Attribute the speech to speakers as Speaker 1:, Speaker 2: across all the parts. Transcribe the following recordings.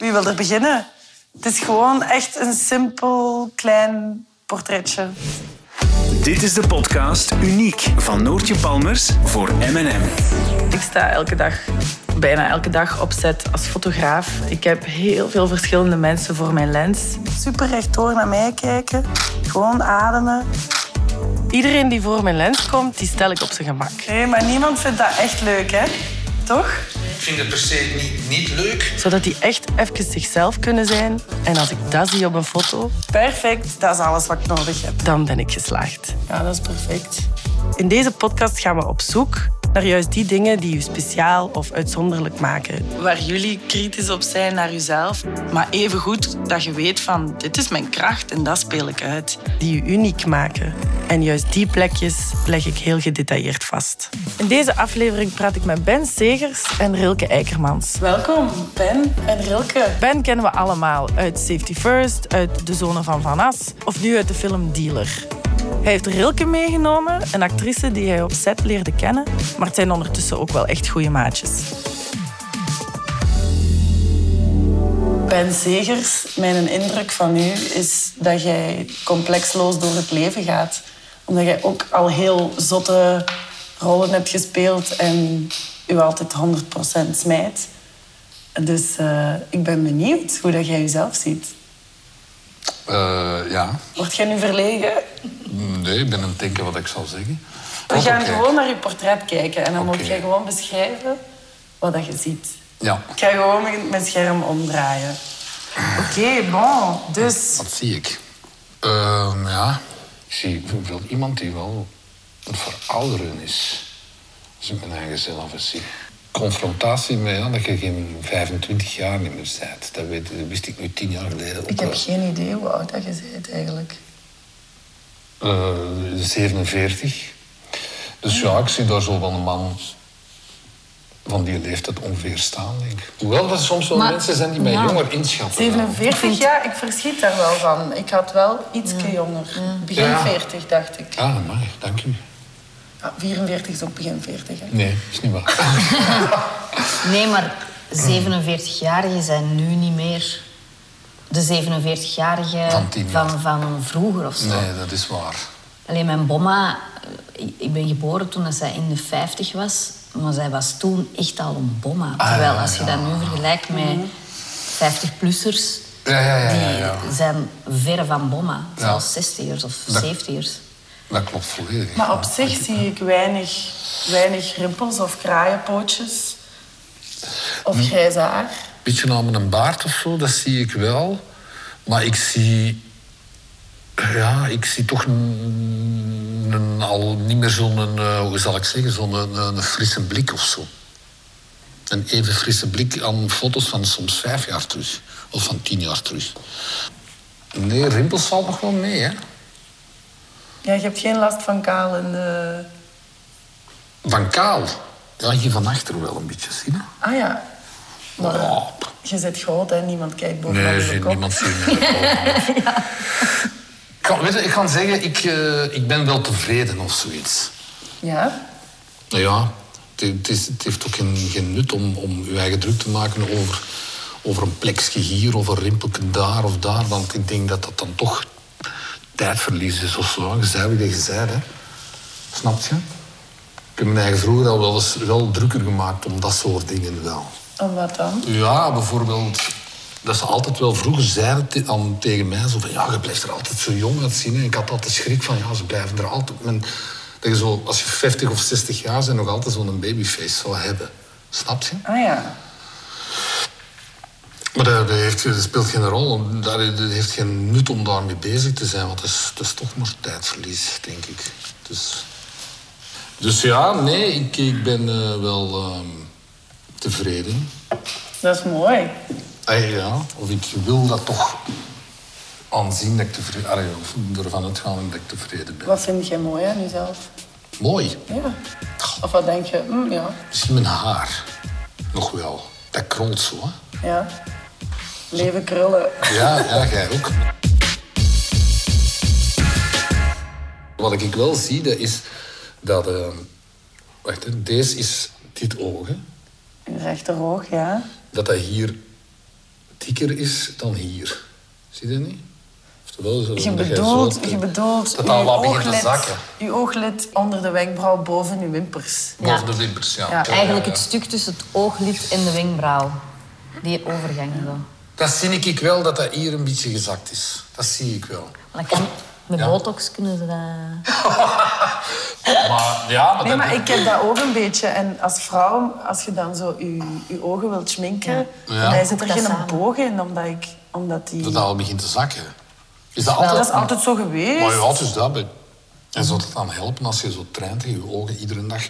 Speaker 1: Wie wil er beginnen? Het is gewoon echt een simpel, klein portretje.
Speaker 2: Dit is de podcast Uniek van Noortje Palmers voor M&M.
Speaker 3: Ik sta elke dag, bijna elke dag, op set als fotograaf. Ik heb heel veel verschillende mensen voor mijn lens.
Speaker 1: Super rechtdoor naar mij kijken. Gewoon ademen.
Speaker 3: Iedereen die voor mijn lens komt, die stel ik op zijn gemak.
Speaker 1: Nee, maar niemand vindt dat echt leuk, hè? Toch?
Speaker 4: Ik vind het per se niet, niet leuk.
Speaker 3: Zodat die echt even zichzelf kunnen zijn. En als ik dat zie op een foto,
Speaker 1: Perfect. Dat is alles wat ik nodig heb.
Speaker 3: dan ben ik geslaagd.
Speaker 1: Ja, dat is perfect.
Speaker 3: In deze podcast gaan we op zoek naar juist die dingen die u speciaal of uitzonderlijk maken. Waar jullie kritisch op zijn naar uzelf, maar even goed dat je weet van dit is mijn kracht en dat speel ik uit. Die u uniek maken. En juist die plekjes leg ik heel gedetailleerd vast. In deze aflevering praat ik met Ben Segers en Rilke Eikermans.
Speaker 1: Welkom, Ben en Rilke.
Speaker 3: Ben kennen we allemaal uit Safety First, uit De Zone van Van As of nu uit de film Dealer. Hij heeft Rilke meegenomen, een actrice die hij op set leerde kennen, maar het zijn ondertussen ook wel echt goede maatjes.
Speaker 1: Ben Zegers, mijn indruk van u is dat jij complexloos door het leven gaat. Omdat jij ook al heel zotte rollen hebt gespeeld en u altijd 100% smijt. Dus eh, ik ben benieuwd hoe dat jij jezelf ziet.
Speaker 4: Eh, ja.
Speaker 1: Word jij nu verlegen?
Speaker 4: Nee, ik ben aan het denken wat ik zal zeggen. Oh,
Speaker 1: We gaan
Speaker 4: Ah, Oké.
Speaker 1: gewoon naar je portret kijken en dan
Speaker 4: Oké.
Speaker 1: moet jij gewoon beschrijven wat dat je ziet.
Speaker 4: Ja,
Speaker 1: Ik ga gewoon mijn- mijn scherm omdraaien. Oké, bon. Dus
Speaker 4: wat zie ik? Ehm, ja, ik zie wel iemand die wel een verouderen is. Als ik mijn eigen zelf eens zie. Confrontatie met ja, dat je geen 25 jaar niet meer bent. Dat, weet, dat wist ik nu 10 jaar geleden. Op,
Speaker 1: ik heb geen idee hoe oud dat je bent eigenlijk.
Speaker 4: eh, 47. Dus ja, ik zie daar zo wel een man van die leeftijd ongeveer staan, denk ik. Hoewel dat soms wel
Speaker 5: Maar-
Speaker 4: mensen zijn die mij
Speaker 5: ja.
Speaker 4: jonger inschatten.
Speaker 1: 47 jaar, ik verschiet daar wel van. Ik had wel ietsje jonger. Begin
Speaker 4: Ja.
Speaker 1: 40, dacht ik.
Speaker 4: Ah, amai, dank u.
Speaker 1: Ah, 44 is ook begin 40. Hè?
Speaker 4: Nee, is niet waar.
Speaker 5: Nee, maar 47-jarigen zijn nu niet meer de 47-jarigen
Speaker 4: Van tien jaar.
Speaker 5: van, van vroeger of zo.
Speaker 4: Nee, dat is waar.
Speaker 5: Alleen mijn bomma, eh, ik- ik ben geboren toen dat zij in de 50 was, maar zij was toen echt al een bomma.
Speaker 4: Ah,
Speaker 5: Terwijl
Speaker 4: ja,
Speaker 5: als je
Speaker 4: ja.
Speaker 5: dat nu vergelijkt met 50-plussers,
Speaker 4: Ja, ja, ja, ja,
Speaker 5: die
Speaker 4: ja.
Speaker 5: zijn verre van bomma.
Speaker 4: Ja.
Speaker 5: Zelfs 60ers of
Speaker 4: Dat-
Speaker 5: 70ers.
Speaker 4: Dat klopt volledig.
Speaker 1: Maar op
Speaker 4: Ja.
Speaker 1: zich zie ik weinig, weinig rimpels of kraaienpootjes.
Speaker 4: Hm.
Speaker 1: Of grijs haar.
Speaker 4: beetje aan een baard of zo, dat zie ik wel. Maar ik zie... Ja, ik zie toch een, een- al niet meer zo'n... eh, Hoe zal ik zeggen? Zo'n een, een frisse blik of zo. Een even frisse blik aan foto's van soms vijf jaar terug. Of van tien jaar terug. Nee, rimpels valt nog wel mee, hè.
Speaker 1: Ja, je hebt geen last van kaal eh, in de...
Speaker 4: Van kaal. Ja, hier van achter wel een beetje, zie je?
Speaker 1: Ah ja. Maar eh,
Speaker 4: Oh,
Speaker 1: je zit groot, hè? Niemand kijkt bovenop
Speaker 4: Nee,
Speaker 1: je
Speaker 4: zie-
Speaker 1: kop.
Speaker 4: niemand ziet mij. Ik kan, weet je, ik kan zeggen, ik, eh, ik ben wel tevreden of zoiets.
Speaker 1: Ja?
Speaker 4: Nou ja, het, het is, het heeft ook geen, geen nut om, om je eigen druk te maken over, over een plekje hier of een rimpelje daar of daar. Want ik denk dat dat dan toch tijdverlies is of zo. Je zei wie je zei, hè. Snap je? Ik heb mijn eigen vroeger al wel eens wel drukker gemaakt om dat soort dingen wel.
Speaker 1: En wat dan?
Speaker 4: Ja, bijvoorbeeld dat ze altijd wel vroeger zeiden te- aan, tegen mij... Zo van, ja, je blijft er altijd zo jong uitzien. En ik had altijd schrik van, ja, ze blijven er altijd... Men, dat je zo, als je 50 of 60 jaar bent, nog altijd zo'n babyface zou hebben. Snap je?
Speaker 1: Ah ja.
Speaker 4: Maar dat, dat heeft, dat speelt geen rol. Dat, dat heeft geen nut om daarmee bezig te zijn. Want dat is, dat is toch maar tijdverlies, denk ik. Dus, dus ja, nee, ik, ik ben eh, wel ehm, tevreden.
Speaker 1: Dat is mooi.
Speaker 4: Ey, Ah, ja, of ik wil dat toch aanzien dat ik tevreden... Allee, of ervan uitgaan dat ik tevreden ben.
Speaker 1: Wat vind jij mooi aan jezelf?
Speaker 4: Mooi.
Speaker 1: Ja. Of wat denk je? Hm, ja.
Speaker 4: Misschien mijn haar. Nog wel. Dat krolt zo, hè.
Speaker 1: Ja. Leven krullen.
Speaker 4: Ja, ja, jij ook. Wat ik wel zie, dat is dat... eh, wacht, hè, deze is dit oog, hè.
Speaker 1: Rechteroog, ja.
Speaker 4: Dat dat hier dikker is dan hier. Zie je dat niet? Oftewel, is dat
Speaker 1: Je
Speaker 4: omdat jij zo
Speaker 1: bedoelt,
Speaker 4: te-
Speaker 1: je bedoelt
Speaker 4: dat al
Speaker 1: uw
Speaker 4: wat begint te
Speaker 1: ooglid-
Speaker 4: zakken.
Speaker 1: uw ooglid onder de wenkbrauw boven uw wimpers.
Speaker 4: Boven
Speaker 5: Ja.
Speaker 4: de wimpers, ja.
Speaker 1: Ja,
Speaker 4: Ja,
Speaker 5: Eigenlijk
Speaker 4: ja,
Speaker 5: het
Speaker 4: ja.
Speaker 5: stuk tussen het ooglid en de wenkbrauw. Die overgang zo.
Speaker 4: Dat zie ik wel, dat dat hier een beetje gezakt is. Dat zie ik wel.
Speaker 5: Maar dat kan, met
Speaker 4: Ja.
Speaker 5: botox kunnen ze dat...
Speaker 4: Maar ja, maar
Speaker 1: Nee,
Speaker 4: dat-
Speaker 1: maar ik heb dat ook een beetje. En als vrouw, als je dan zo je, je ogen wilt schminken,
Speaker 4: Ja.
Speaker 1: dan zit er
Speaker 5: Dat
Speaker 1: geen
Speaker 5: samen.
Speaker 1: boog in, omdat, ik, omdat die...
Speaker 4: dat
Speaker 1: Dat,
Speaker 4: dat al begint te zakken. Is dat altijd...
Speaker 1: is altijd zo geweest.
Speaker 4: Maar ja, het is dat. hè. En zou dat dan helpen als je zo traint en je ogen iedere dag...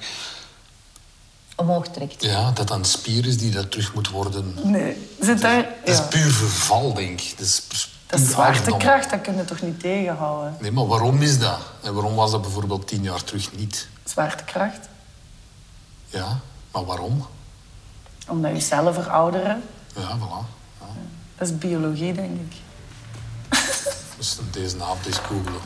Speaker 5: omhoog trekt.
Speaker 4: Ja, dat dan spier is die dat terug moet worden...
Speaker 1: Nee, zit daar...
Speaker 4: Dat
Speaker 1: ja.
Speaker 4: is puur verval, denk ik. Dat is, pers-
Speaker 1: Dat is
Speaker 4: puur ouderdom.
Speaker 1: zwaartekracht, dat kun je toch niet tegenhouden?
Speaker 4: Nee, maar waarom is dat? En waarom was dat bijvoorbeeld tien jaar terug niet?
Speaker 1: Zwaartekracht,
Speaker 4: Ja, maar waarom?
Speaker 1: omdat je cellen verouderen.
Speaker 4: Ja, voilà. Ja.
Speaker 1: Dat is biologie, denk ik.
Speaker 4: Dus deze avond is googelen.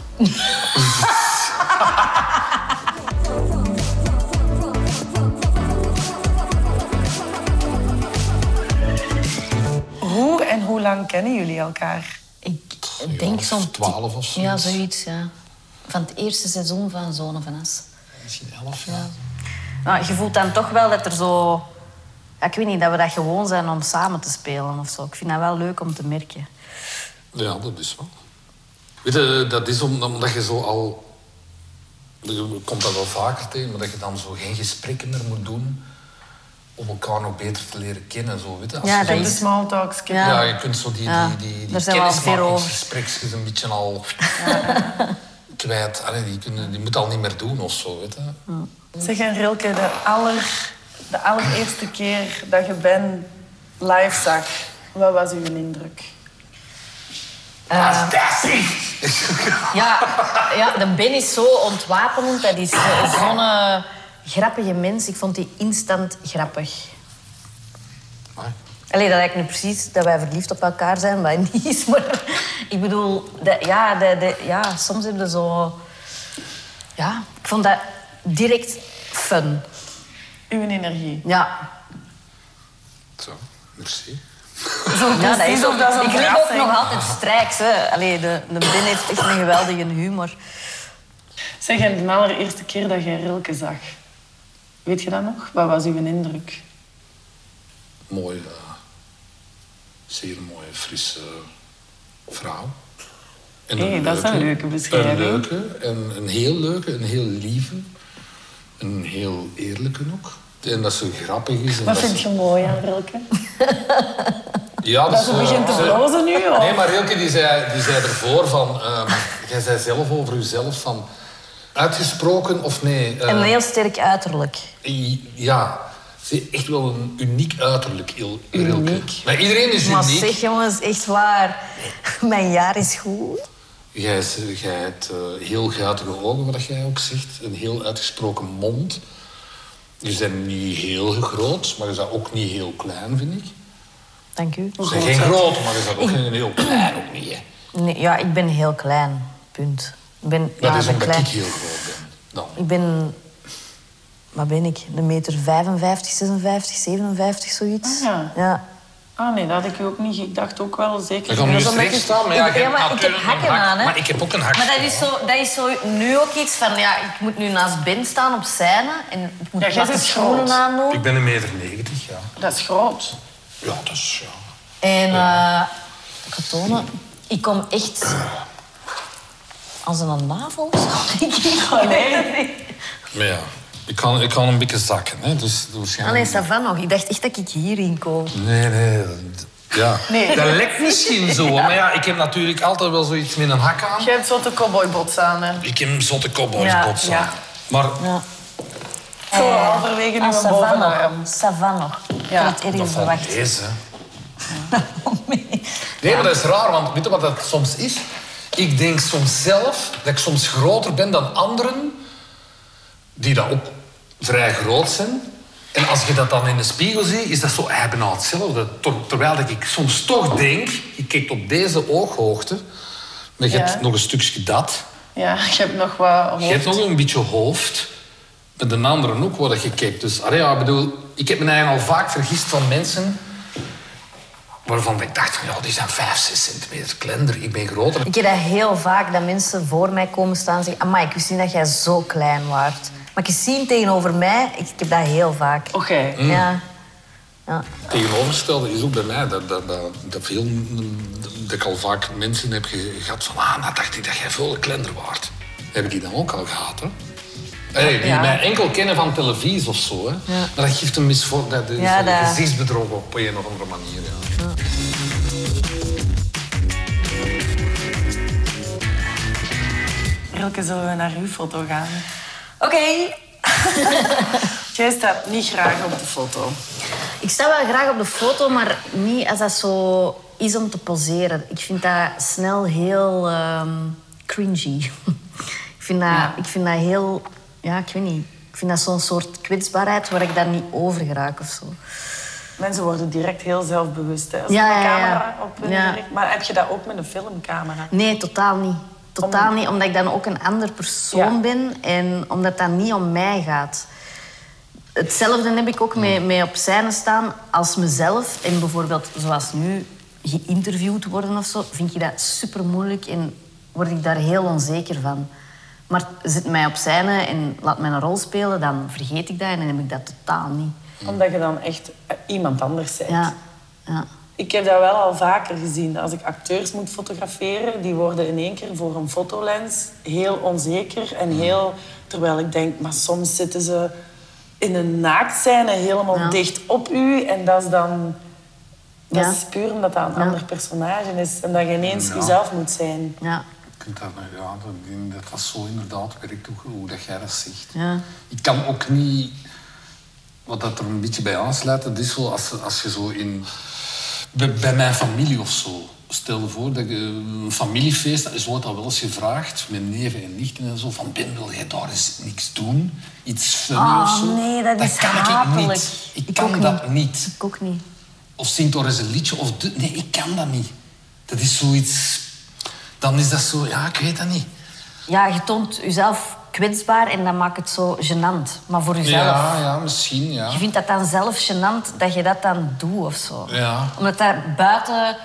Speaker 1: Hoe en hoe lang kennen jullie elkaar?
Speaker 5: Ik
Speaker 4: Een jaar
Speaker 5: denk
Speaker 4: of
Speaker 5: zo'n...
Speaker 4: 12 of
Speaker 5: Ja,
Speaker 4: zoiets.
Speaker 5: zoiets, ja. Van het eerste seizoen van Zone van As.
Speaker 4: Misschien elf jaar.
Speaker 5: Nou, je voelt dan toch wel dat er zo... Ja, ik weet niet, dat we dat gewoon zijn om samen te spelen of zo. Ik vind dat wel leuk om te merken.
Speaker 4: Ja, dat is wel. Weet je, dat is om- omdat je zo al... Je komt dat wel vaker tegen, maar dat je dan zo geen gesprekken meer moet doen om elkaar nog beter te leren kennen. Zo, weet je. Als
Speaker 5: Ja,
Speaker 4: je zo
Speaker 5: dat
Speaker 1: De
Speaker 5: is-
Speaker 1: small talks, kennen.
Speaker 4: Ja,
Speaker 5: Ja.
Speaker 4: je kunt zo die,
Speaker 5: Ja,
Speaker 4: die, die, die
Speaker 5: daar zijn we al ver over.
Speaker 4: kennismakingsgesprekjes een beetje al kwijt. Allee, die, kunnen, die moet al niet meer doen of zo. Weet je.
Speaker 5: Mm.
Speaker 1: Zeg en Rilke, de, aller, de allereerste keer dat je Ben live zag, wat was uw indruk?
Speaker 5: Ja, ja, de Ben is zo ontwapenend. Dat is eh, zo'n eh, grappige mens. Ik vond die instant grappig.
Speaker 4: Maar,
Speaker 5: Allee, dat lijkt nu precies dat wij verliefd op elkaar zijn, wat niet is. Maar ik bedoel, dat- ja, dat- dat- ja, soms heb je zo... Ja, ik vond dat direct fun.
Speaker 1: Uw energie.
Speaker 5: Ja,
Speaker 4: Zo, merci.
Speaker 5: ja dat is
Speaker 1: precies of dat is een
Speaker 5: Ik lig ook
Speaker 1: verrassing.
Speaker 5: nog altijd strijks. Hè. Allee, de, de Ben heeft echt een geweldige humor.
Speaker 1: Zeg en de allereerste keer dat je Rilke zag, weet je dat nog? Wat was uw indruk?
Speaker 4: Mooie, eh, zeer mooie, frisse vrouw. En
Speaker 1: Hé, dat is een leuke beschrijving.
Speaker 4: Een leuke, en een heel leuke, een heel lieve. Een heel eerlijke ook. En dat ze grappig is. En
Speaker 1: Wat
Speaker 4: dat
Speaker 1: vind
Speaker 4: ze-
Speaker 1: je mooi aan Rilke?
Speaker 4: Ja,
Speaker 1: Dat ze
Speaker 4: eh,
Speaker 1: begint te
Speaker 4: ze-
Speaker 1: blozen nu? Of?
Speaker 4: Nee, maar Rilke die zei, die zei ervoor van... ehm, jij zei zelf over jezelf van... Uitgesproken of nee? eh,
Speaker 5: Een heel sterk uiterlijk.
Speaker 4: i- ja, ze heeft echt wel een uniek uiterlijk, Il- Rilke. Maar iedereen is
Speaker 5: Maar
Speaker 4: uniek.
Speaker 5: zeg jongens, echt waar. Mijn jaar is goed.
Speaker 4: Jij, z- jij hebt eh, heel guitige ogen, wat jij ook zegt. Een heel uitgesproken mond. Die zijn niet heel groot, maar is dat ook niet heel klein, vind ik.
Speaker 5: Dank u.
Speaker 4: Ze zijn geen groot, maar is dat ook geen heel klein ook niet, hè.
Speaker 5: Nee, ja, ik ben heel klein. Punt. Ik ben,
Speaker 4: Dat
Speaker 5: ja,
Speaker 4: is
Speaker 5: ben
Speaker 4: omdat
Speaker 5: klein.
Speaker 4: ik heel groot ben. Nou, Dan.
Speaker 5: Ik ben... Wat ben ik? Een meter 55, 56, 57, zoiets.
Speaker 1: Ah, ja.
Speaker 5: ja.
Speaker 1: Ah nee, dat had ik ook niet. Ik dacht ook wel zeker.
Speaker 4: Ik kan nu
Speaker 5: is omdat
Speaker 4: streng
Speaker 5: ik-
Speaker 4: staan, maar ja,
Speaker 5: ik-
Speaker 4: je
Speaker 5: ja, maar
Speaker 4: hebt
Speaker 5: ik heb
Speaker 4: natuurlijk een
Speaker 5: hakken
Speaker 4: hak.
Speaker 5: aan, hè.
Speaker 4: Maar ik heb ook een hak.
Speaker 5: Maar dat is, zo, dat is zo nu ook iets van... Ja, ik moet nu naast Ben staan op scène. En ik moet
Speaker 1: Ja, jij
Speaker 5: platte
Speaker 1: bent
Speaker 5: schoenen
Speaker 1: groot.
Speaker 5: aandoen.
Speaker 4: Ik ben een meter negentig, ja.
Speaker 1: Dat is groot.
Speaker 4: Ja, dat is... Ja.
Speaker 5: En eh ik ga tonen, ik kom echt als een navel. Ik weet het niet.
Speaker 4: Maar ja, ik kan, ik kan een beetje zakken, hè. Dus waarschijnlijk...
Speaker 5: Allee, Savan nog. Ik dacht echt dat ik hierin kom.
Speaker 4: Nee, nee. dat- Ja.
Speaker 1: Nee.
Speaker 4: Dat lekt misschien zo, maar ja, ik heb natuurlijk altijd wel zoiets met een hak aan.
Speaker 1: Jij hebt zotte cowboybots aan, hè?
Speaker 4: Ik heb zotte cowboys
Speaker 5: Ja,
Speaker 4: bots aan.
Speaker 1: ja.
Speaker 4: Maar
Speaker 5: Ja.
Speaker 1: Zo halverwege nu
Speaker 5: Ah,
Speaker 1: een
Speaker 5: Savan
Speaker 1: bovenarm.
Speaker 5: nog. Savan nog.
Speaker 1: Ja,
Speaker 5: Ik had het
Speaker 4: dat
Speaker 5: ergens
Speaker 4: valt
Speaker 5: verwacht.
Speaker 4: deze.
Speaker 5: Nee.
Speaker 4: Nee, maar dat is raar, want weet je wat dat soms is? Ik denk soms zelf dat ik soms groter ben dan anderen die dat ook vrij groot zijn. En als je dat dan in de spiegel ziet, is dat zo eh, bijna hetzelfde. Ter- terwijl dat ik soms toch denk, je kijkt op deze ooghoogte, maar je
Speaker 1: Ja.
Speaker 4: hebt nog een stukje dat.
Speaker 1: Ja, ik heb nog wat
Speaker 4: Je hebt
Speaker 1: hoofd.
Speaker 4: nog een beetje hoofd. Met een andere ook worden gekeken. Dus allee, ja, ik bedoel, ik heb me eigenlijk al vaak vergist van mensen Waarvan ik dacht, ja, die zijn 5, 6 centimeter kleiner. Ik ben groter.
Speaker 5: Ik heb dat heel vaak, dat mensen voor mij komen staan en zeggen... Amai, ik wist niet dat jij zo klein waart. Maar je ziet tegenover mij, ik, ik heb dat heel vaak.
Speaker 1: Oké.
Speaker 5: Ja. ja.
Speaker 4: Tegenovergestelde is ook bij mij dat, dat, dat, dat, veel, dat ik al vaak mensen heb ge- gehad van... Ah, nou dacht ik dat jij veel kleiner waard. Heb ik die dan ook al gehad, hè? Hey, die
Speaker 5: Ja.
Speaker 4: mij enkel kennen van televisie of zo, hè? Maar dat geeft een misvorming, dat is
Speaker 5: Ja,
Speaker 4: een
Speaker 5: dat-
Speaker 4: gezichtsbedrog op een of andere manier. Ja.
Speaker 3: Rilke, zullen we naar uw foto gaan?
Speaker 5: Oké.
Speaker 3: Jij staat niet graag op de foto.
Speaker 5: Ik sta wel graag op de foto, maar niet als dat zo is om te poseren. Ik vind dat snel heel ehm, cringy. ik, vind dat, ik vind dat heel... Ja, ik weet niet. Ik vind dat zo'n soort kwetsbaarheid waar ik daar niet over geraak of zo.
Speaker 1: Mensen worden direct heel zelfbewust. Hè, als
Speaker 5: Ja,
Speaker 1: er een
Speaker 5: ja, ja.
Speaker 1: camera op hun
Speaker 5: Ja.
Speaker 1: richt. Maar heb je dat ook met een filmcamera?
Speaker 5: Nee, totaal niet. Totaal niet, omdat ik dan ook een ander persoon
Speaker 1: Ja.
Speaker 5: ben en omdat dat niet om mij gaat. Hetzelfde heb ik ook mee, mee op scène staan als mezelf. En bijvoorbeeld, zoals nu, geïnterviewd worden of zo, vind ik dat super moeilijk en word ik daar heel onzeker van. Maar zit mij op scène en laat mij een rol spelen, dan vergeet ik dat en dan heb ik dat totaal niet.
Speaker 4: Mm.
Speaker 1: Omdat je dan echt eh, iemand anders bent.
Speaker 5: Ja, ja.
Speaker 1: Ik heb dat wel al vaker gezien. dat Als ik acteurs moet fotograferen, die worden in één keer voor een fotolens heel onzeker en heel... Terwijl ik denk, maar soms zitten ze in een naaktzijne helemaal
Speaker 5: Ja.
Speaker 1: dicht op u. En dat is dan... Dat
Speaker 5: Ja.
Speaker 1: is puur omdat dat een
Speaker 5: Ja.
Speaker 1: ander personage is. En dat je ineens
Speaker 4: Ja.
Speaker 1: jezelf moet zijn.
Speaker 5: ja.
Speaker 4: Ik vind dat, nou ja, dat, ik denk dat dat zo inderdaad werkt, ook hoe dat jij dat zegt.
Speaker 5: Ja.
Speaker 4: Ik kan ook niet... Wat dat er een beetje bij aansluit, dat is zo als, als je zo in... Bij, bij mijn familie of zo. Stel je voor dat je een familiefeest, dat is wordt dat wel eens gevraagd, met neven en nichten en zo, van Ben, wil jij daar eens niks doen? Iets funny
Speaker 5: Oh,
Speaker 4: of zo?
Speaker 5: nee, dat is
Speaker 4: kan ik
Speaker 5: hapelijk.
Speaker 4: niet. Ik,
Speaker 5: Ik
Speaker 4: kan
Speaker 5: ook
Speaker 4: dat niet.
Speaker 5: Ik ook niet.
Speaker 4: Of zingt door eens een liedje. Of doet- nee, ik kan dat niet. Dat is zoiets... Dan is dat zo... Ja, ik weet dat niet.
Speaker 5: Ja, je toont jezelf kwetsbaar en dat maakt het zo gênant. Maar voor jezelf.
Speaker 4: Ja, ja, misschien, ja.
Speaker 5: Je vindt dat dan zelf gênant dat je dat dan doet of zo.
Speaker 4: Ja.
Speaker 5: Omdat dat buiten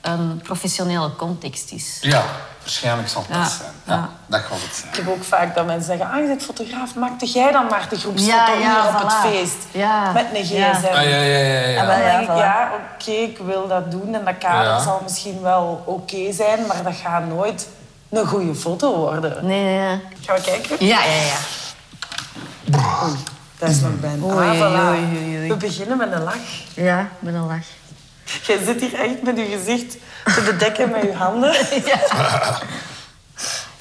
Speaker 5: een professionele context is.
Speaker 4: Ja, waarschijnlijk zal dat
Speaker 5: Ja,
Speaker 4: zijn. Ja,
Speaker 5: ja.
Speaker 4: Dat gaat het zijn.
Speaker 1: Ik heb ook vaak dat mensen zeggen, ah, je bent fotograaf, maakte jij dan maar de groepsfoto
Speaker 5: Ja, ja,
Speaker 1: hier op het
Speaker 5: voilà.
Speaker 1: feest?
Speaker 5: Ja.
Speaker 1: Met een gsm.
Speaker 5: Ja.
Speaker 4: Ah, ja, ja, ja,
Speaker 1: En
Speaker 4: ja.
Speaker 1: dan
Speaker 5: Ja,
Speaker 1: denk ik,
Speaker 5: voilà.
Speaker 1: ja, oké, ik wil dat doen en dat kader
Speaker 4: Ja.
Speaker 1: zal misschien wel oké zijn, maar dat gaat nooit een goede foto worden.
Speaker 5: Nee, nee, nee.
Speaker 1: Gaan we kijken?
Speaker 5: Ja, ja, ja.
Speaker 1: Dat is nog bijna.
Speaker 5: Oei,
Speaker 1: Ah, voilà.
Speaker 5: oei, oei, oei.
Speaker 1: We beginnen met een lach.
Speaker 5: Ja, met een lach.
Speaker 1: Jij zit hier echt met je gezicht te bedekken met je handen.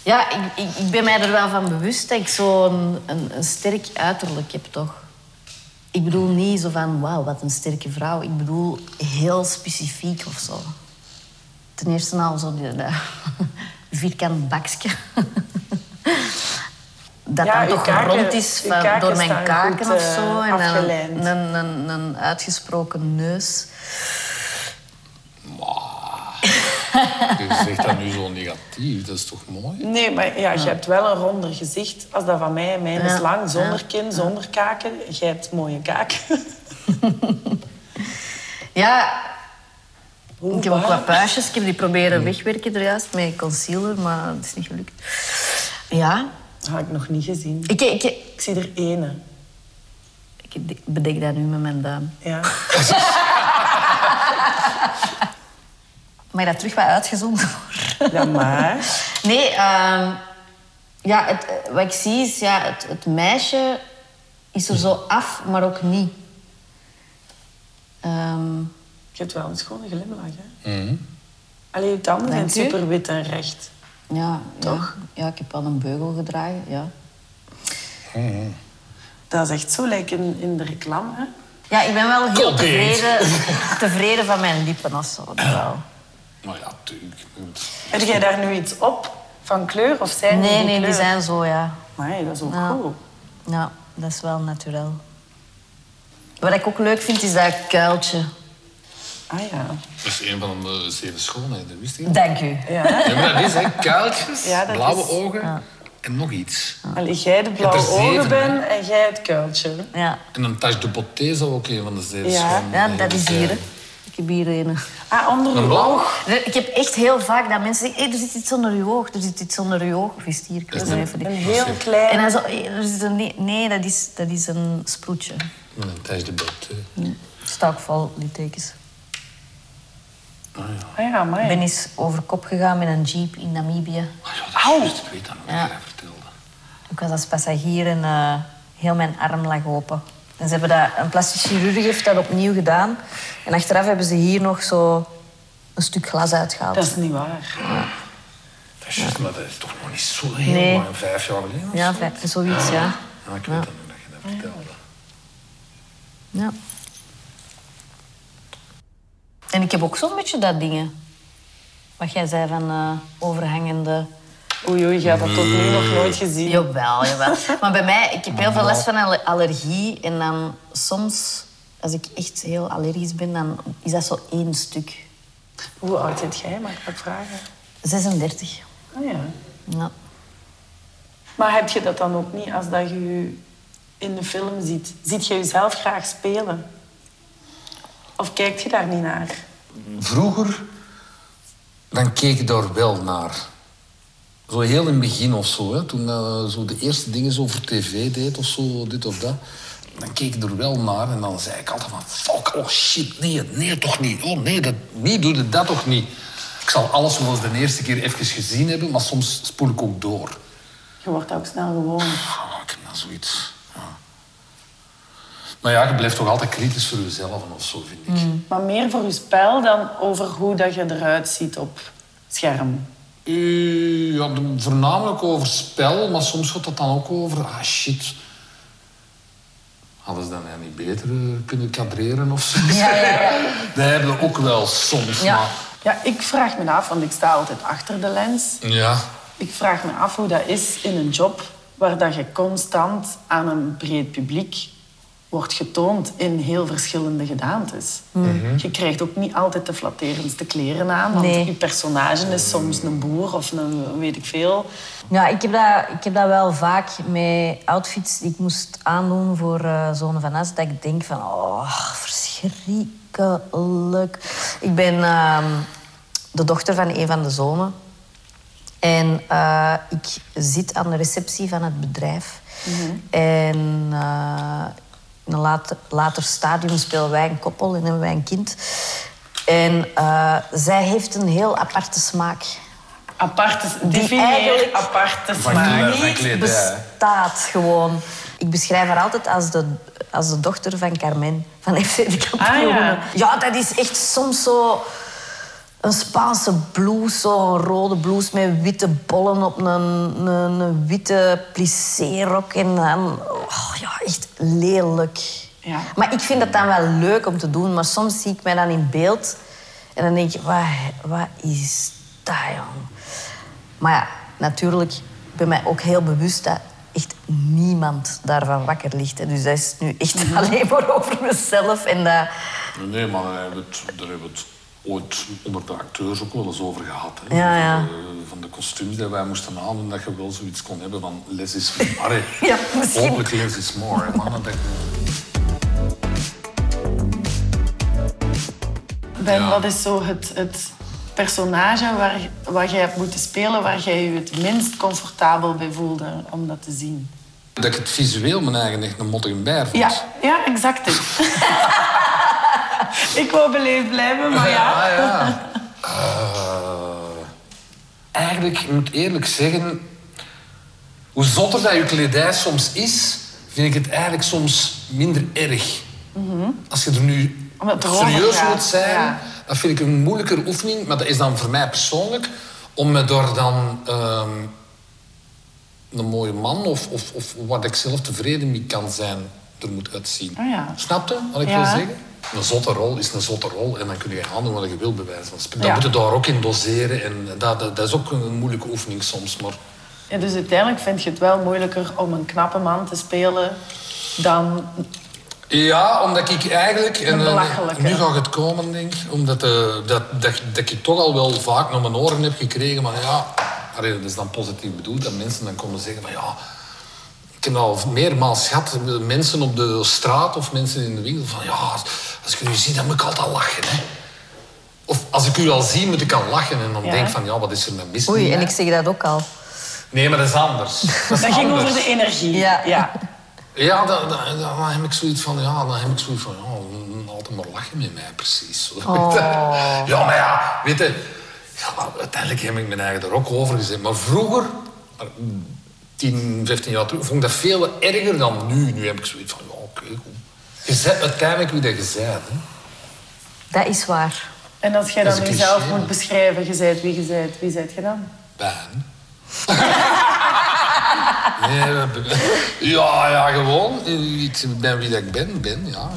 Speaker 5: Ja, ik, ik, ik ben mij er wel van bewust dat ik zo'n een, een sterk uiterlijk heb, toch? Ik bedoel niet zo van, wauw, wat een sterke vrouw. Ik bedoel heel specifiek of zo. Ten eerste al zo die, dat vierkant bakje. Dat
Speaker 1: Ja,
Speaker 5: dan
Speaker 1: je
Speaker 5: toch
Speaker 1: kaken-
Speaker 5: rond is
Speaker 1: je
Speaker 5: van-
Speaker 1: kaken
Speaker 5: door mijn
Speaker 1: staan
Speaker 5: kaken
Speaker 1: goed,
Speaker 5: of zo.
Speaker 1: eh,
Speaker 5: En dan
Speaker 1: afgelijnd.
Speaker 5: een, een, een, een uitgesproken neus.
Speaker 4: Je zegt dat nu zo negatief. Dat is toch mooi?
Speaker 1: Nee, maar ja, je hebt wel een ronder gezicht als dat van mij. Mijn is
Speaker 5: Ja.
Speaker 1: lang, zonder
Speaker 5: Ja.
Speaker 1: kin, zonder kaken. Jij hebt mooie kaken.
Speaker 5: Ja,
Speaker 1: Hoe
Speaker 5: Ik heb ook
Speaker 1: waar?
Speaker 5: wat puistjes. Ik heb die proberen wegwerken er juist met concealer, maar het is niet gelukt. Ja,
Speaker 1: Dat had ik nog niet gezien.
Speaker 5: ik, ik, ik,
Speaker 1: Ik zie er ene.
Speaker 5: bedek dat nu met mijn duim.
Speaker 1: Ja.
Speaker 5: Mag je dat terug wat uitgezoomd worden?
Speaker 1: Ja, maar...
Speaker 5: Nee, ehm, ja, het, eh, wat ik zie is, ja, het, het meisje is er zo af, maar ook niet. Ehm,
Speaker 1: Je hebt wel een schone glimlach, hè? Alleen je tanden
Speaker 5: Dank
Speaker 1: zijn
Speaker 5: u.
Speaker 1: super wit en recht.
Speaker 5: ja,
Speaker 1: Toch?
Speaker 5: Ja, ja, ik heb al een beugel gedragen, ja.
Speaker 1: Dat is echt zo, lijkt in, in de reclame. Hè?
Speaker 5: Ja, ik ben wel heel
Speaker 4: Cold
Speaker 5: tevreden, tevreden van mijn lippen of zo. dat wel.
Speaker 4: Maar ja, tuurlijk.
Speaker 1: Heb jij daar nu iets op van kleur of zijn die
Speaker 5: Nee,
Speaker 1: die
Speaker 5: nee, die
Speaker 1: kleur?
Speaker 5: zijn zo, ja.
Speaker 1: Amai, dat is ook
Speaker 5: Ja.
Speaker 1: cool.
Speaker 5: Ja, dat is wel natuurlijk. Wat ik ook leuk vind, is dat kuiltje.
Speaker 1: Ah ja.
Speaker 4: Dat is een van de zeven schoonheden, wist je?
Speaker 5: Dank u.
Speaker 1: ja.
Speaker 4: Ja, maar dat is, hè. Kuiltjes,
Speaker 1: Ja, dat
Speaker 4: blauwe
Speaker 1: is-
Speaker 4: ogen en nog iets.
Speaker 1: Allee, jij de
Speaker 4: er
Speaker 1: blauwe
Speaker 4: zeven,
Speaker 1: ogen
Speaker 4: hè?
Speaker 1: bent en jij het kuiltje.
Speaker 5: Ja,
Speaker 4: En een tas de boté zou ook een van de zeven
Speaker 1: Ja,
Speaker 4: schoonheden
Speaker 5: ja dat is hier.
Speaker 4: zijn.
Speaker 5: hè. Ik heb hier een.
Speaker 1: Ah, onder
Speaker 6: Een
Speaker 1: uw
Speaker 6: blauw?
Speaker 1: oog.
Speaker 5: Ik heb echt heel vaak dat mensen zeggen... "Hey, er zit iets onder je oog, er zit iets onder je oog. Of is het hier? Ik weet het even niet.
Speaker 1: Een heel
Speaker 5: En
Speaker 1: klein...
Speaker 5: dan zo... "Hey, er zit een... Nee, nee, dat, is, dat is een sproetje.
Speaker 6: Tijdens de bed.
Speaker 5: Staakval, littekens.
Speaker 1: Ah ja,
Speaker 5: Ik
Speaker 1: amai.
Speaker 5: ben eens over kop gegaan met een jeep in Namibië.
Speaker 4: Ah,
Speaker 6: Auw! Ik weet dat wat
Speaker 5: Ja.
Speaker 6: jij vertelde.
Speaker 5: Ik was als passagier en eh, heel mijn arm lag open. En ze hebben dat, een plastisch chirurg heeft dat opnieuw gedaan. En achteraf hebben ze hier nog zo een stuk glas uitgehaald.
Speaker 1: Dat is niet waar.
Speaker 6: Dat is juist, maar dat is toch nog niet zo heel
Speaker 5: Nee.
Speaker 6: lang, vijf jaar geleden? of
Speaker 5: Ja,
Speaker 6: zo?
Speaker 5: vijf- zoiets, ja.
Speaker 6: Ja, ik weet
Speaker 5: Ja.
Speaker 6: dat nog, dat je dat vertelde.
Speaker 5: ja. En ik heb ook zo'n beetje dat dingen. Wat jij zei van eh, overhangende... Mm.
Speaker 1: Oei, oei, je hebt dat tot nu nog nooit gezien.
Speaker 5: Jawel, jawel. Maar bij mij, ik heb heel veel last van alle- allergie. En dan soms, als ik echt heel allergisch ben, dan is dat zo één stuk.
Speaker 1: Hoe oud zit jij? Mag ik dat vragen?
Speaker 5: 36.
Speaker 1: Ah ja.
Speaker 5: Ja.
Speaker 1: Maar heb je dat dan ook niet als dat je je in de film ziet? Ziet je jezelf graag spelen? Of kijk je daar niet naar?
Speaker 4: vroeger, dan keek ik daar wel naar. Zo heel in het begin of zo, hè, toen eh, zo de eerste dingen zo voor tv deed of zo, dit of dat. Dan keek ik er wel naar en dan zei ik altijd van... Fuck, oh shit, nee, nee toch niet. Oh nee, dat, nee, doe je dat toch niet. Ik zal alles zoals de eerste keer even gezien hebben, maar soms spoel ik ook door.
Speaker 1: Je wordt ook snel gewoon.
Speaker 4: Ah, ik heb nou zoiets. Ja. Maar ja, je blijft toch altijd kritisch voor jezelf of zo, vind ik.
Speaker 5: Mm.
Speaker 1: Maar meer voor je spel dan over hoe dat je eruit ziet op scherm.
Speaker 4: Eh, ja, de- voornamelijk over spel, maar soms gaat dat dan ook over... Ah, shit. Hadden ze dan niet beter eh, kunnen kadreren of zo?
Speaker 5: Ja, ja, ja.
Speaker 4: Dat hebben we ook wel soms,
Speaker 5: Ja.
Speaker 4: maar...
Speaker 1: Ja, ik vraag me af, want ik sta altijd achter de lens.
Speaker 4: Ja.
Speaker 1: Ik vraag me af hoe dat is in een job waar dat je constant aan een breed publiek wordt getoond in heel verschillende gedaantes. Je krijgt ook niet altijd de flatterendste kleren aan, want
Speaker 5: Nee.
Speaker 1: je personage is soms een boer of een weet ik veel.
Speaker 5: Ja, ik heb, dat, ik heb dat wel vaak met outfits die ik moest aandoen voor eh Zone van As. Dat ik denk van, oh, verschrikkelijk. Ik ben ehm, de dochter van een van de zonen. En eh, ik zit aan de receptie van het bedrijf. En eh, in een later, later stadium spelen wij een koppel en hebben wij een kind. En eh, zij heeft een heel aparte smaak.
Speaker 1: Aparte, definieer
Speaker 5: eigenlijk-
Speaker 1: aparte
Speaker 4: toen
Speaker 1: smaak.
Speaker 4: wij- van
Speaker 5: niet
Speaker 4: kledij.
Speaker 5: bestaat gewoon. Ik beschrijf haar altijd als de, als de dochter van Carmen, van FC de Kampioenen.
Speaker 1: Ah, ja.
Speaker 5: ja. dat is echt soms zo... Een Spaanse blouse, zo'n rode blouse met witte bollen op een, een, een witte plisséerok. En dan, oh, ja, echt lelijk.
Speaker 1: Ja.
Speaker 5: Maar ik vind dat dan wel leuk om te doen. Maar soms zie ik mij dan in beeld en dan denk ik, wat, wat is dat, jong? Maar ja, natuurlijk ik ben mij ook heel bewust dat echt niemand daarvan wakker ligt. hè. Dus dat is nu echt alleen maar over mezelf. En dat,
Speaker 4: Nee, maar daar hebben, we het, daar hebben we het ooit onder de acteurs ook wel eens over gehad. Hè?
Speaker 5: Ja, ja.
Speaker 4: Van, de, eh, van de kostuums die wij moesten halen, dat je wel zoiets kon hebben van... Less is more. hè.
Speaker 5: Ja, misschien.
Speaker 4: Hopelijk less is more. hè, Mannen, dat,
Speaker 1: Ben, wat is zo het, het personage waar, wat jij hebt moeten spelen waar jij je het minst comfortabel bij voelde om dat te zien?
Speaker 4: dat ik het visueel mijn eigen echt een mottige bijer vond.
Speaker 1: Ja, ja, exact. dit. ik wou beleefd blijven, maar ja.
Speaker 4: ja. Ah, Eh, eigenlijk, ik moet eerlijk zeggen, hoe zotter dat je kledij soms is, vind ik het eigenlijk soms minder erg. Als je er nu
Speaker 1: Omdat Mhm. het erover
Speaker 4: serieus
Speaker 1: gaat,
Speaker 4: moet zijn,
Speaker 1: ja.
Speaker 4: dat vind ik een moeilijker oefening. Maar dat is dan voor mij persoonlijk, om me daar dan ehm, een mooie man of, of, of wat ik zelf tevreden mee kan zijn, er moet uitzien.
Speaker 1: Ah, ja.
Speaker 4: Snap je wat ik
Speaker 1: Ja.
Speaker 4: wil zeggen? Een zotte rol is een zotte rol en dan kun je aandoen wat je wil bewijzen. van spreken.
Speaker 1: Ja.
Speaker 4: Dat moet je daar ook in doseren en dat, dat, dat is ook een moeilijke oefening soms. Maar
Speaker 1: ja. Dus uiteindelijk vind je het wel moeilijker om een knappe man te spelen dan...
Speaker 4: ja, omdat ik eigenlijk... En, eh,
Speaker 1: belachelijke.
Speaker 4: nu gaat het komen, denk ik. Omdat eh, dat, dat, dat ik toch al wel vaak naar mijn oren heb gekregen. Maar ja, allee, dat is dan positief bedoeld. Dat mensen dan komen zeggen van ja... Ik heb al meermaals gehad, mensen op de straat of mensen in de winkel, van ja, als ik nu zie, dan moet ik altijd lachen. Hè. Of als ik u al zie, moet ik al lachen. En dan
Speaker 1: Ja.
Speaker 4: denk ik van, ja, wat is er nou mis
Speaker 5: Oei,
Speaker 4: mee?
Speaker 5: en ik zeg dat ook al.
Speaker 4: Nee, maar dat is anders. Dat, is
Speaker 1: Dat ging
Speaker 4: anders.
Speaker 1: over de energie.
Speaker 5: Ja.
Speaker 4: Ja, dan, dan, dan, heb ik zoiets van, ja, dan heb ik zoiets van, ja, altijd maar lachen met mij, precies. Ja, maar ja, weet je, ja, maar uiteindelijk heb ik mijn eigen er ook over gezet. Maar vroeger, maar 10, 15 jaar terug, vond ik dat veel erger dan nu. Nu heb ik zoiets van, ja, oké, goed. Je zet uiteindelijk wie dat je bent, hè.
Speaker 5: Dat is waar.
Speaker 1: En als jij
Speaker 4: Dat is
Speaker 1: dan
Speaker 4: een
Speaker 1: jezelf
Speaker 4: cliché,
Speaker 1: moet
Speaker 4: hè?
Speaker 1: beschrijven, je zijt wie je zijt, wie zijt je dan?
Speaker 4: Ben. Nee, dat heb ik- ja, ja, gewoon. Ik ben wie dat ik ben, ben, ja.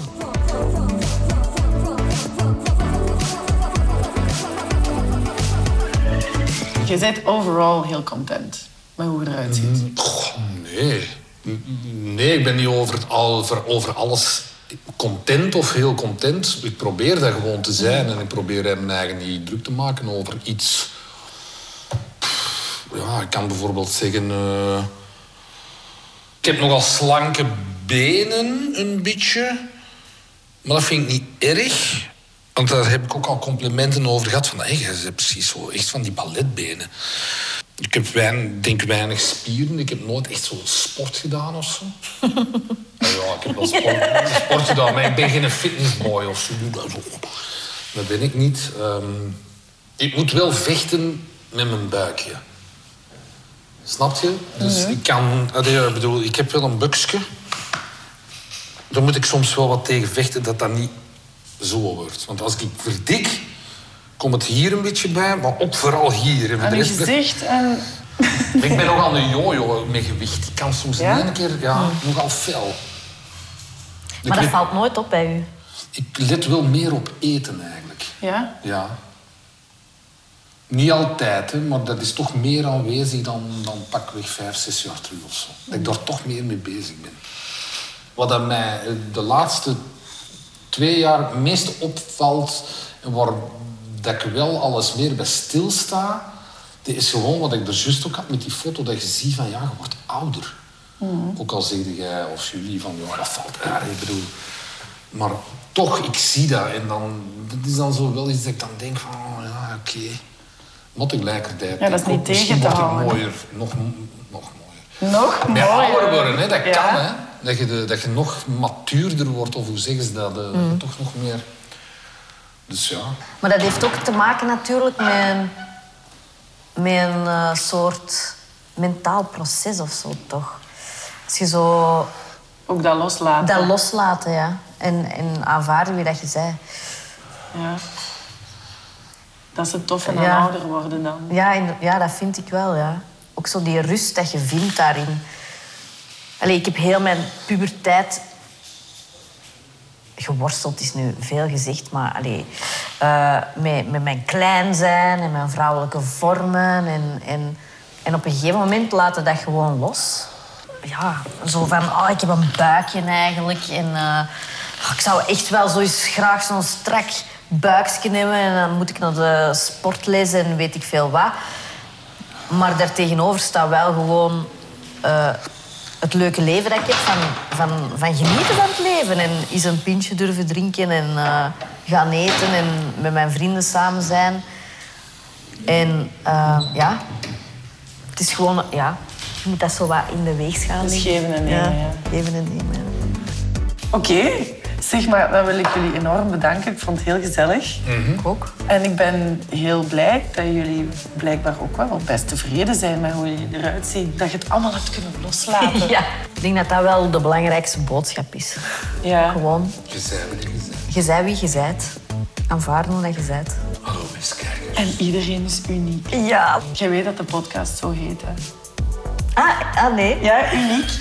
Speaker 1: Je bent overal heel content met hoe je eruit
Speaker 4: Mhm.
Speaker 1: ziet.
Speaker 4: Goh, nee. Nee, ik ben niet over, het al, voor- over alles content of heel content. Ik probeer dat gewoon te zijn en ik probeer hem mijn eigen niet druk te maken over iets. Pff, Ja, ik kan bijvoorbeeld zeggen. eh, ik heb nogal slanke benen, een beetje. Maar dat vind ik niet erg. Want daar heb ik ook al complimenten over gehad. Van, hey, jij hebt precies zo, echt van die balletbenen. Ik heb wein, denk weinig spieren. Ik heb nooit echt zo sport gedaan of zo. Nou ja, ik heb wel sport, sport gedaan, maar ik ben geen fitnessboy of zo. Dat, dat ben ik niet. Ehm, ik moet wel vechten met mijn buikje. Snap je? Dus ik kan... allee, ik bedoel, ik heb wel een buksje. Daar moet ik soms wel wat tegen vechten dat dat niet zo wordt. Want als ik verdik, komt het hier een beetje bij, maar ook vooral hier. En voor
Speaker 1: Aan
Speaker 4: de
Speaker 1: Ah, dus je
Speaker 4: rest-
Speaker 1: gezicht en...
Speaker 4: ik ben nogal een jojo met gewicht. Ik kan soms
Speaker 1: Ja?
Speaker 4: in één keer ja, nogal fel. Ik
Speaker 5: Hmm. Maar dat
Speaker 4: let,
Speaker 5: valt nooit op bij u.
Speaker 4: ik let wel meer op eten eigenlijk.
Speaker 1: Ja?
Speaker 4: Ja. Niet altijd, hè, maar dat is toch meer aanwezig dan, dan pakweg vijf, zes jaar terug of zo. Dat ik daar toch meer mee bezig ben. Wat aan mij eh, de laatste twee jaar het meest opvalt en waar dat ik wel alles meer bij stilsta, dat is gewoon wat ik er juist ook had met die foto, dat je ziet van ja, je wordt ouder.
Speaker 1: Mm.
Speaker 4: Ook al zegde jij of jullie van ja, dat valt raar, ik bedoel. Maar toch, ik zie dat en dan, dat is dan zo wel iets dat ik dan denk van oh, ja, oké. Maar tegelijkertijd,
Speaker 1: Ja, dat is
Speaker 4: denk
Speaker 1: niet
Speaker 4: ik ook, misschien
Speaker 1: tegen te
Speaker 4: word ik
Speaker 1: houden.
Speaker 4: mooier, nog, nog mooier.
Speaker 1: Nog
Speaker 4: Ja, ouder
Speaker 1: mooier.
Speaker 4: worden, hè, dat
Speaker 1: Ja.
Speaker 4: kan. Hè. Dat, je de- dat je nog matuurder wordt, of hoe zeggen ze dat? eh,
Speaker 1: Mm.
Speaker 4: Toch nog meer. Dus ja.
Speaker 5: Maar dat heeft ook te maken natuurlijk met, met een eh, soort mentaal proces of zo, toch? Als je zo
Speaker 1: Ook dat loslaten.
Speaker 5: dat loslaten, ja. En, en aanvaarden wie dat je zei.
Speaker 1: Ja. Dat is het toffe aan
Speaker 5: Ja.
Speaker 1: ouder worden dan.
Speaker 5: Ja, in- ja, dat vind ik wel, ja. Ook zo die rust dat je vindt daarin. Allee, ik heb heel mijn puberteit geworsteld, is nu veel gezegd, maar allee, eh, met, met mijn klein zijn en mijn vrouwelijke vormen. En, en, en op een gegeven moment laten dat gewoon los. Ja, zo van, oh, ik heb een buikje eigenlijk. En eh, oh, ik zou echt wel zo eens graag zo'n strak buikje nemen. En dan moet ik naar de sportles en weet ik veel wat. Maar daartegenover staat wel gewoon eh, het leuke leven dat ik heb. Van, van, van genieten van het leven. En eens een pintje durven drinken en eh, gaan eten. En met mijn vrienden samen zijn. En eh, ja, het is gewoon... Ja, je moet dat zo wat in de weeg gaan
Speaker 1: Dus
Speaker 5: leggen.
Speaker 1: geven en nemen, ja.
Speaker 5: Geven en nemen, ja.
Speaker 1: Oké. Zeg maar, dan wil ik jullie enorm bedanken. Ik vond het heel gezellig.
Speaker 5: Ik ook.
Speaker 1: En ik ben heel blij dat jullie blijkbaar ook wel best tevreden zijn met hoe je eruit ziet. Dat je het allemaal hebt kunnen loslaten.
Speaker 5: Ja. Ik denk dat dat wel de belangrijkste boodschap is.
Speaker 1: Ja.
Speaker 5: Gewoon,
Speaker 4: Je zei wat je zei.
Speaker 5: je bent wie je bent. Aanvaarden hoe dat je bent.
Speaker 4: Hallo, mensen kijken.
Speaker 1: En iedereen is uniek.
Speaker 5: Ja.
Speaker 1: Je weet dat de podcast zo heet, hè?
Speaker 5: Ah, ah nee.
Speaker 1: Ja, uniek.